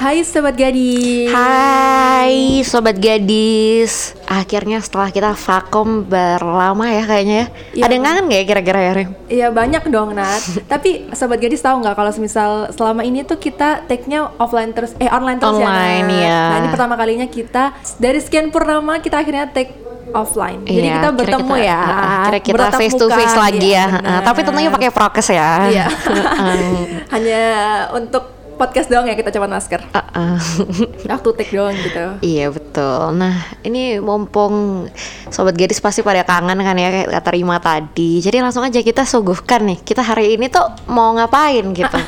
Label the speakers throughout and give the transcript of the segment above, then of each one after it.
Speaker 1: Hai Sobat Gadis
Speaker 2: Hai Sobat Gadis Akhirnya setelah kita vakum berlama ya kayaknya ya
Speaker 1: Iya.
Speaker 2: Ada yang kangen gak ya kira-kira ya Rim?
Speaker 1: Iya banyak dong Nat Tapi Sobat Gadis tahu nggak kalau semisal selama ini tuh kita take-nya offline terus Eh online terus ya
Speaker 2: Online,
Speaker 1: Nat?
Speaker 2: iya.
Speaker 1: Nah ini pertama kalinya kita dari sekian purnama kita akhirnya take offline Jadi
Speaker 2: Iya,
Speaker 1: kita
Speaker 2: akhirnya
Speaker 1: bertemu
Speaker 2: kita-
Speaker 1: ya
Speaker 2: heeh, Akhirnya kita
Speaker 1: bertatap
Speaker 2: face to
Speaker 1: muka.
Speaker 2: face lagi
Speaker 1: Iya,
Speaker 2: ya heeh.
Speaker 1: benar.
Speaker 2: Tapi tentunya pakai prokes ya
Speaker 1: Iya
Speaker 2: Heeh.
Speaker 1: Hanya untuk podcast doang ya kita coba masker
Speaker 2: Heeh.
Speaker 1: Waktu take doang gitu
Speaker 2: Ah, Iya betul Nah ini mumpung Sobat Gadis pasti pada kangen kan ya Kayak kata Rima tadi Jadi langsung aja kita suguhkan nih Kita hari ini tuh mau ngapain gitu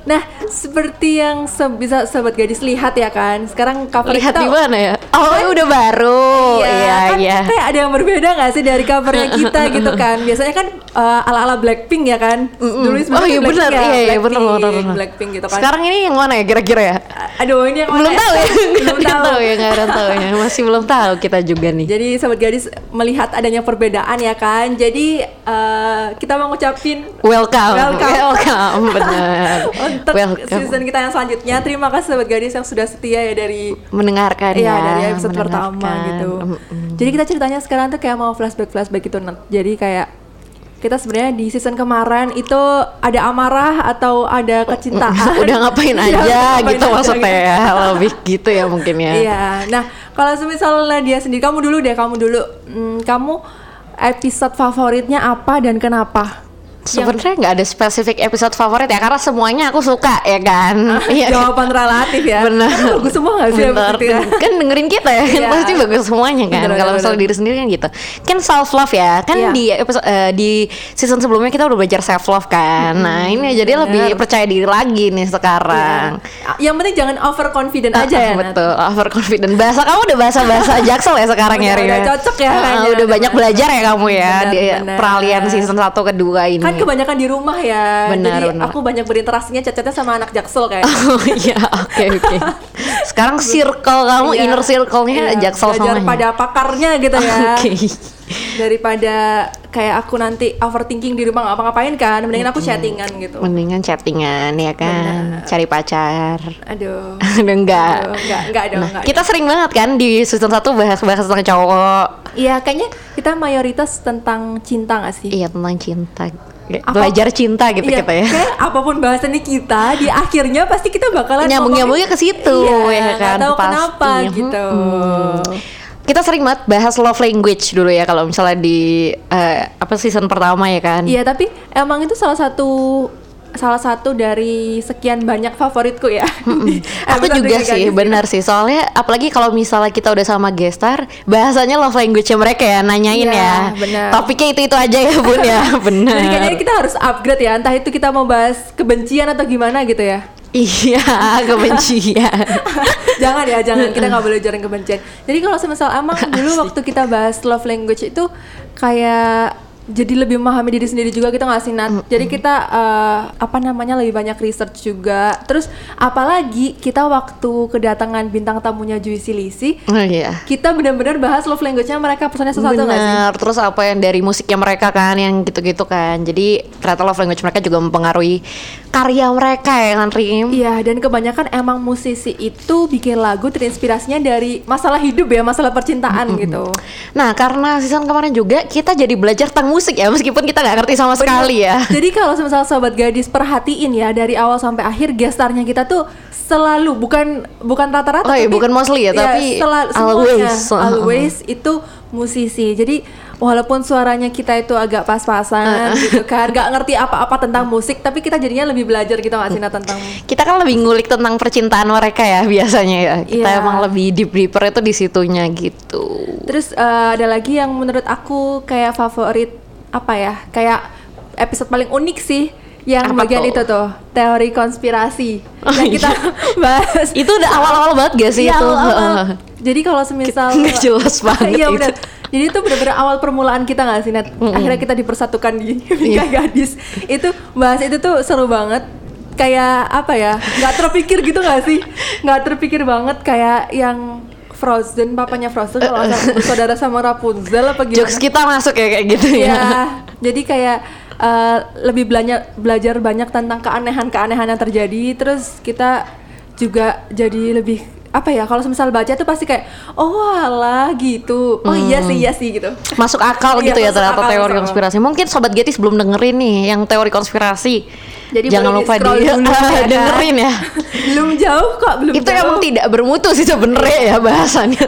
Speaker 1: Nah, seperti yang se- bisa sobat gadis lihat ya kan, sekarang cover
Speaker 2: Lihat
Speaker 1: kita
Speaker 2: di mana ya? Oh udah baru Iya
Speaker 1: kan
Speaker 2: iya
Speaker 1: kayak ada yang berbeda nggak sih dari covernya kita gitu kan? Biasanya kan eh, ala-ala Blackpink ya kan? Dulu sebenarnya
Speaker 2: Oh iya
Speaker 1: Blackpink
Speaker 2: benar,
Speaker 1: ya,
Speaker 2: iya iya
Speaker 1: Blackpink,
Speaker 2: benar benar benar.
Speaker 1: Blackpink gitu kan.
Speaker 2: Sekarang ini yang mana ya kira-kira ya?
Speaker 1: aduh ini yang mana
Speaker 2: belum tahu ya,
Speaker 1: belum
Speaker 2: Nggak
Speaker 1: tahu.
Speaker 2: ya, nggak ada yang tahu ya. Masih belum tahu kita juga nih.
Speaker 1: Jadi sobat gadis melihat adanya perbedaan ya kan. Jadi eh, kita mau ngucapin
Speaker 2: Welcome,
Speaker 1: Welcome.
Speaker 2: welcome, benar.
Speaker 1: untuk
Speaker 2: welcome.
Speaker 1: season kita yang selanjutnya. Terima kasih sobat gadis yang sudah setia ya dari
Speaker 2: Mendengarkan
Speaker 1: Iya
Speaker 2: ya,
Speaker 1: dari episode pertama
Speaker 2: mendengarkan. Mm,
Speaker 1: gitu.
Speaker 2: Mm-mm.
Speaker 1: Jadi kita ceritanya sekarang tuh kayak mau flashback flashback gitu. Nat. Jadi kayak kita sebenarnya di season kemarin itu ada amarah atau ada kecintaan.
Speaker 2: mm. Udah ngapain
Speaker 1: Iya,
Speaker 2: aja
Speaker 1: udah ngapain
Speaker 2: gitu
Speaker 1: aja
Speaker 2: maksudnya
Speaker 1: gitu.
Speaker 2: ya, lebih gitu ya mungkin ya.
Speaker 1: Iya. Nah kalau misalnya dia sendiri, kamu dulu deh, kamu dulu, Hmm, kamu episode favoritnya apa dan kenapa?
Speaker 2: Sebenarnya nggak ada spesifik episode favorit ya karena semuanya aku suka ya kan. Iya.
Speaker 1: Jawaban relatif Ah, ya.
Speaker 2: Benar.
Speaker 1: Kan bagus semua nggak sih?
Speaker 2: Benar.
Speaker 1: episode ya?
Speaker 2: Kan dengerin kita ya, kan
Speaker 1: Iya.
Speaker 2: pasti bagus semuanya kan.
Speaker 1: Benar,
Speaker 2: Kalau
Speaker 1: benar,
Speaker 2: misalnya
Speaker 1: benar.
Speaker 2: diri sendiri kan gitu. Kan self love ya. Kan
Speaker 1: Iya.
Speaker 2: di episode eh, di season sebelumnya kita udah belajar self love kan. Nah, ini jadi lebih percaya diri lagi nih sekarang.
Speaker 1: Iya. Yang penting jangan overconfident aja ya. Nat.
Speaker 2: Ah, betul overconfident bahasa kamu udah bahasa bahasa jaksel ya sekarang
Speaker 1: Udah-
Speaker 2: ya Ria?
Speaker 1: udah cocok ya,
Speaker 2: Ah,
Speaker 1: kayaknya,
Speaker 2: udah,
Speaker 1: udah
Speaker 2: banyak
Speaker 1: benar.
Speaker 2: belajar ya kamu ya
Speaker 1: Benar,
Speaker 2: di
Speaker 1: benar.
Speaker 2: peralihan season 1 ke 2 ini
Speaker 1: kan kebanyakan di rumah ya
Speaker 2: Hmm. Benar,
Speaker 1: jadi
Speaker 2: benar.
Speaker 1: aku banyak berinteraksinya chat-chatnya sama anak jaksel kayak
Speaker 2: Oh iya, oke oke. Sekarang circle kamu
Speaker 1: Iya.
Speaker 2: inner circle-nya
Speaker 1: Iya,
Speaker 2: jaksel
Speaker 1: belajar
Speaker 2: semuanya.
Speaker 1: pada pakarnya gitu ya
Speaker 2: Oke.
Speaker 1: daripada kayak aku nanti overthinking di rumah ngapa ngapain kan mendingan aku chattingan gitu
Speaker 2: Mendingan chattingan ya kan, cari pacar.
Speaker 1: aduh
Speaker 2: Udah enggak.
Speaker 1: Aduh,
Speaker 2: Nah,
Speaker 1: enggak enggak dong enggak
Speaker 2: Kita sering banget kan di season 1 bahas-bahas tentang cowok.
Speaker 1: iya kayaknya kita mayoritas tentang cinta gak sih
Speaker 2: Iya, tentang cinta.
Speaker 1: Apa-
Speaker 2: Belajar cinta gitu
Speaker 1: Iya,
Speaker 2: kita ya.
Speaker 1: kayak apapun bahasannya kita di akhirnya pasti kita bakalan
Speaker 2: Nyambung-nyambungnya ke situ
Speaker 1: iya,
Speaker 2: ya kan
Speaker 1: nggak tahu
Speaker 2: pasti.
Speaker 1: kenapa gitu
Speaker 2: Mm-mm. Kita sering banget bahas love language dulu ya kalau misalnya di eh, apa season pertama ya kan.
Speaker 1: Iya, tapi emang itu salah satu salah satu dari sekian banyak favoritku ya. Di
Speaker 2: Hmm, Aku
Speaker 1: episode
Speaker 2: juga
Speaker 1: ini,
Speaker 2: sih,
Speaker 1: guys.
Speaker 2: benar sih. Soalnya apalagi kalau misalnya kita udah sama gestar, bahasanya love language mereka ya
Speaker 1: Iya,
Speaker 2: nanyain ya.
Speaker 1: benar.
Speaker 2: Topiknya itu-itu aja ya, Bun ya. Benar.
Speaker 1: Jadi kayaknya kita harus upgrade ya, entah itu kita mau bahas kebencian atau gimana gitu ya.
Speaker 2: Iya, ya. kebencian.
Speaker 1: jangan ya, jangan kita nggak boleh ujaran kebencian. Jadi kalau semisal emang dulu waktu kita bahas love language itu kayak jadi lebih memahami diri sendiri juga kita nggak sih Nat?
Speaker 2: Hmm,
Speaker 1: Jadi kita eh, apa namanya lebih banyak research juga. Terus apalagi kita waktu kedatangan bintang tamunya Jui Silisi,
Speaker 2: Oh iya.
Speaker 1: kita benar-benar bahas love language-nya mereka pesannya sesuatu nggak sih?
Speaker 2: Benar. Terus apa yang dari musiknya mereka kan yang gitu-gitu kan. Jadi ternyata love language mereka juga mempengaruhi karya mereka ya kan Rim.
Speaker 1: Iya, dan kebanyakan emang musisi itu bikin lagu terinspirasinya dari masalah hidup ya, masalah percintaan gitu.
Speaker 2: Nah, karena season kemarin juga kita jadi belajar tentang musik ya meskipun kita nggak ngerti sama sekali ya.
Speaker 1: Jadi kalau misalnya sobat gadis perhatiin ya dari awal sampai akhir gestarnya kita tuh selalu bukan bukan rata-rata
Speaker 2: Oh iya, bukan mostly ya, tapi
Speaker 1: selalu
Speaker 2: always.
Speaker 1: always itu musisi. Jadi walaupun suaranya kita itu agak
Speaker 2: Uh-uh.
Speaker 1: pas-pasan gitu kan, nggak ngerti apa-apa tentang musik, tapi kita jadinya lebih belajar gitu nggak sih Nat, tentang
Speaker 2: kita kan lebih ngulik tentang percintaan mereka ya biasanya ya kita
Speaker 1: Iya.
Speaker 2: emang lebih deep deeper itu di situnya gitu
Speaker 1: Terus eh, ada lagi yang menurut aku kayak favorit apa ya? Kayak episode paling unik sih yang
Speaker 2: Apa
Speaker 1: bagian
Speaker 2: tuh?
Speaker 1: itu tuh teori konspirasi
Speaker 2: Oh,
Speaker 1: yang kita bahas.
Speaker 2: itu udah awal awal banget gak sih
Speaker 1: Iya,
Speaker 2: itu
Speaker 1: awal-awal.
Speaker 2: Heeh.
Speaker 1: Jadi kalau semisal
Speaker 2: Nggak jelas banget
Speaker 1: Iya
Speaker 2: itu.
Speaker 1: benar. Jadi itu benar-benar awal permulaan kita nggak sih, Nat? Akhirnya kita dipersatukan di nikah
Speaker 2: Iya.
Speaker 1: gadis. Itu bahas itu tuh seru banget. Kayak apa ya? Nggak terpikir gitu nggak sih? Nggak terpikir banget kayak yang Frozen, papanya Frozen kalau nggak salah saudara sama Rapunzel apa gimana?
Speaker 2: jokes kita masuk ya kayak gitu ya
Speaker 1: Iya. Jadi kayak eh, lebih belajar belajar banyak tentang keanehan-keanehan yang terjadi. Terus kita juga jadi lebih apa ya? Kalau misal baca tuh pasti kayak oh alah gitu. Oh iya sih iya sih gitu.
Speaker 2: masuk akal
Speaker 1: Iya,
Speaker 2: gitu ya
Speaker 1: masuk
Speaker 2: ternyata
Speaker 1: akal,
Speaker 2: teori
Speaker 1: masuk
Speaker 2: konspirasi. Mungkin sobat Getis belum dengerin nih yang teori konspirasi.
Speaker 1: Jadi
Speaker 2: jangan
Speaker 1: boleh
Speaker 2: lupa di,
Speaker 1: di-scroll dulu ya kan?
Speaker 2: dengerin ya.
Speaker 1: belum jauh kok belum
Speaker 2: itu
Speaker 1: jauh.
Speaker 2: emang tidak bermutu sih sebenarnya ya bahasannya.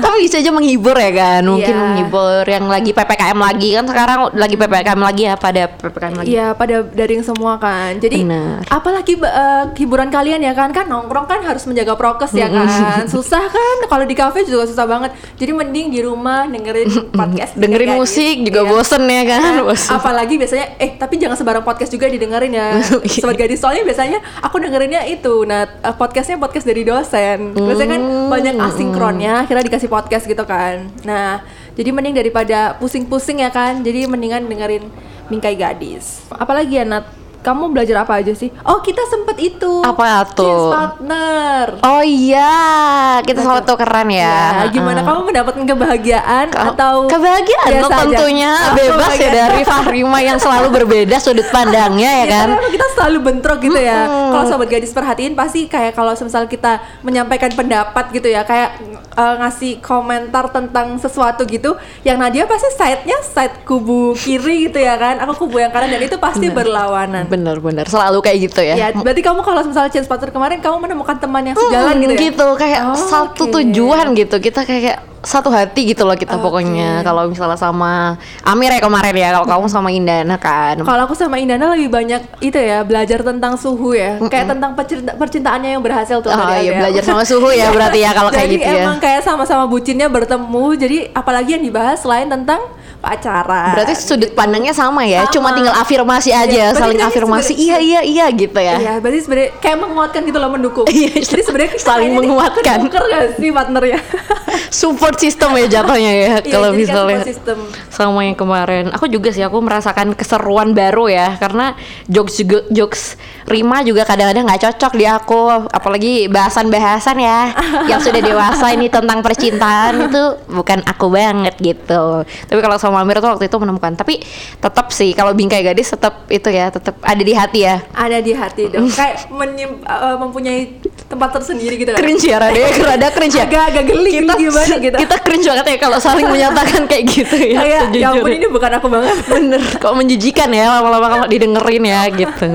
Speaker 2: Tapi bisa aja menghibur ya kan. Mungkin
Speaker 1: Iya.
Speaker 2: menghibur yang lagi PPKM lagi kan sekarang lagi PPKM lagi ya pada PPKM lagi.
Speaker 1: Iya pada daring semua kan. Jadi
Speaker 2: Benar.
Speaker 1: apalagi eh, hiburan kalian ya kan kan nongkrong kan harus menjaga prokes ya kan. Susah kan kalau di kafe juga susah banget. Jadi mending di rumah dengerin podcast,
Speaker 2: Dengerin
Speaker 1: Gadis.
Speaker 2: musik juga
Speaker 1: Iya.
Speaker 2: bosen ya kan.
Speaker 1: Kan?
Speaker 2: Bosen.
Speaker 1: apalagi biasanya eh tapi jangan sembarang podcast juga didengerin ya
Speaker 2: Iya.
Speaker 1: sobat gadis soalnya biasanya aku dengerinnya itu nah eh, podcastnya podcast dari dosen biasanya kan
Speaker 2: Oh.
Speaker 1: banyak asinkronnya akhirnya dikasih podcast gitu kan nah jadi mending daripada pusing-pusing ya kan jadi mendingan dengerin bingkai gadis apalagi ya Nat kamu belajar apa aja sih oh kita sempet itu
Speaker 2: Apa tuh?
Speaker 1: Kids partner
Speaker 2: Oh iya, kita soal itu keren ya.
Speaker 1: Ya, gimana kamu mendapatkan kebahagiaan
Speaker 2: Kalau-
Speaker 1: atau
Speaker 2: kebahagiaan
Speaker 1: biasa
Speaker 2: dong
Speaker 1: aja?
Speaker 2: tentunya
Speaker 1: Oh,
Speaker 2: bebas ya
Speaker 1: kebahagiaan.
Speaker 2: dari Fahrima yang selalu berbeda sudut pandangnya
Speaker 1: Iya,
Speaker 2: ya kan.
Speaker 1: karena emang kita selalu bentrok gitu ya. Kalau sobat gadis perhatiin pasti kayak kalau semisal kita menyampaikan pendapat gitu ya, kayak eh, ngasih komentar tentang sesuatu gitu, yang Nadia pasti side-nya side kubu kiri gitu ya kan, aku kubu yang kanan dan itu pasti berlawanan.
Speaker 2: Bener-bener selalu kayak gitu ya.
Speaker 1: Ya, berarti kamu kalau misalnya change partner kemarin kamu menemukan teman yang
Speaker 2: Mm,
Speaker 1: sejalan gitu ya.
Speaker 2: kayak
Speaker 1: Oh,
Speaker 2: satu
Speaker 1: oke.
Speaker 2: tujuan gitu. Kita kayak kayak satu hati gitu loh kita pokoknya. Kalau misalnya sama Amir ya kemarin ya, kalau kamu sama Indana kan.
Speaker 1: Kalau aku sama Indana lebih banyak itu ya belajar tentang suhu ya, kayak tentang pecinta- percintaannya yang berhasil tuh.
Speaker 2: Oh
Speaker 1: tadi
Speaker 2: iya
Speaker 1: ada.
Speaker 2: belajar sama suhu ya berarti ya kalau kayak
Speaker 1: jadi
Speaker 2: gitu ya.
Speaker 1: emang kayak sama-sama bucinnya bertemu. Jadi apalagi yang dibahas selain tentang pacaran.
Speaker 2: Berarti sudut pandangnya sama ya,
Speaker 1: Sama.
Speaker 2: cuma tinggal afirmasi aja,
Speaker 1: berarti
Speaker 2: saling
Speaker 1: ini
Speaker 2: afirmasi.
Speaker 1: sebenarnya-
Speaker 2: Iya iya iya gitu ya.
Speaker 1: Iya, berarti sebenarnya kayak menguatkan gitu loh mendukung.
Speaker 2: Iya,
Speaker 1: Jadi sebenarnya kita kayaknya
Speaker 2: saling
Speaker 1: nih
Speaker 2: menguatkan.
Speaker 1: Nuker gak sih ya? partnernya?
Speaker 2: Support system ya jatuhnya ya
Speaker 1: Iya,
Speaker 2: kalau
Speaker 1: jadi kan
Speaker 2: misalnya.
Speaker 1: support system.
Speaker 2: sama yang kemarin. Aku juga sih aku merasakan keseruan baru ya karena jokes juga jokes Rima juga kadang-kadang nggak cocok di aku, apalagi bahasan-bahasan ya yang sudah dewasa ini tentang percintaan itu bukan aku banget gitu. Tapi kalau sama Amir tuh waktu itu menemukan. Tapi tetap sih kalau bingkai gadis tetap itu ya, tetap ada di hati ya.
Speaker 1: Ada di hati dong.
Speaker 2: Mm.
Speaker 1: Kayak menyim- eh, mempunyai tempat tersendiri gitu. kan.
Speaker 2: Cringe ya Rade, rada cringe ya.
Speaker 1: Agak agak geli
Speaker 2: Kita,
Speaker 1: geli gimana gitu.
Speaker 2: kita cringe banget ya kalau saling menyatakan kayak gitu ya.
Speaker 1: kayak ya ampun
Speaker 2: sejujurnya.
Speaker 1: ini bukan aku banget.
Speaker 2: bener kok menjijikan ya lama-lama kalau didengerin ya gitu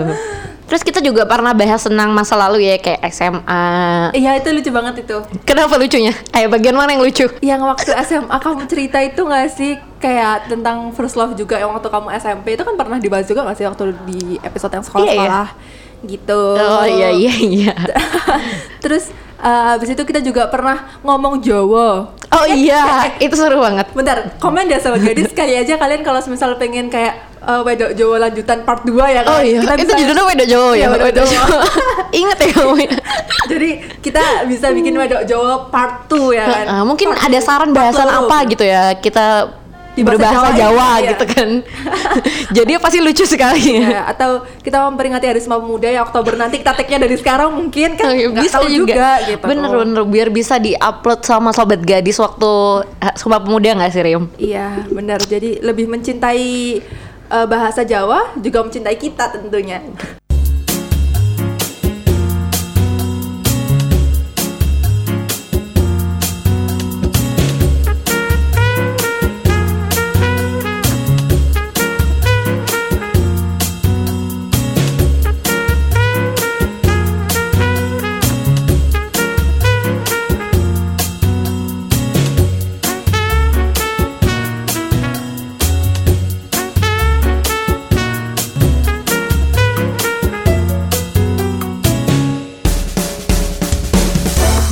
Speaker 2: terus kita juga pernah bahas tentang masa lalu ya kayak SMA
Speaker 1: Iya, itu lucu banget itu.
Speaker 2: kenapa lucunya ayo bagian mana yang lucu
Speaker 1: yang waktu SMA kamu cerita itu nggak sih kayak tentang first love juga yang waktu kamu SMP itu kan pernah dibahas juga nggak sih waktu di episode yang sekolah-sekolah gitu
Speaker 2: Iya, oh iya iya iya
Speaker 1: terus eh, abis itu kita juga pernah ngomong Jawa
Speaker 2: oh iya itu seru banget
Speaker 1: bentar komen deh sobat gadis kali aja kalian kalau misal pengen kayak eh, wedok Jawa lanjutan part 2 ya kan
Speaker 2: oh iya
Speaker 1: kita
Speaker 2: itu
Speaker 1: bisa-
Speaker 2: judulnya Wedo Jowo ya
Speaker 1: Iya, Wedok
Speaker 2: Wedo
Speaker 1: Jowo.
Speaker 2: Jowo ingat ya kamu ya
Speaker 1: jadi kita bisa bikin wedok Jawa part 2 ya kan
Speaker 2: Heeh, Eh, mungkin
Speaker 1: Part
Speaker 2: ada saran
Speaker 1: part
Speaker 2: bahasan
Speaker 1: two.
Speaker 2: apa gitu ya kita
Speaker 1: Di bahasa
Speaker 2: berbahasa
Speaker 1: Jawa,
Speaker 2: Jawa,
Speaker 1: iya.
Speaker 2: gitu kan jadi pasti lucu sekali
Speaker 1: Ya,
Speaker 2: ya.
Speaker 1: atau kita memperingati Hari Sumpah Pemuda ya Oktober nanti kita tag-nya dari sekarang mungkin kan
Speaker 2: Oh, iya,
Speaker 1: nggak tahu gitu.
Speaker 2: bener bener biar bisa diupload sama sobat gadis waktu eh, sumpah pemuda nggak sih Rim
Speaker 1: Iya, benar. Jadi lebih mencintai eh, bahasa Jawa juga mencintai kita tentunya.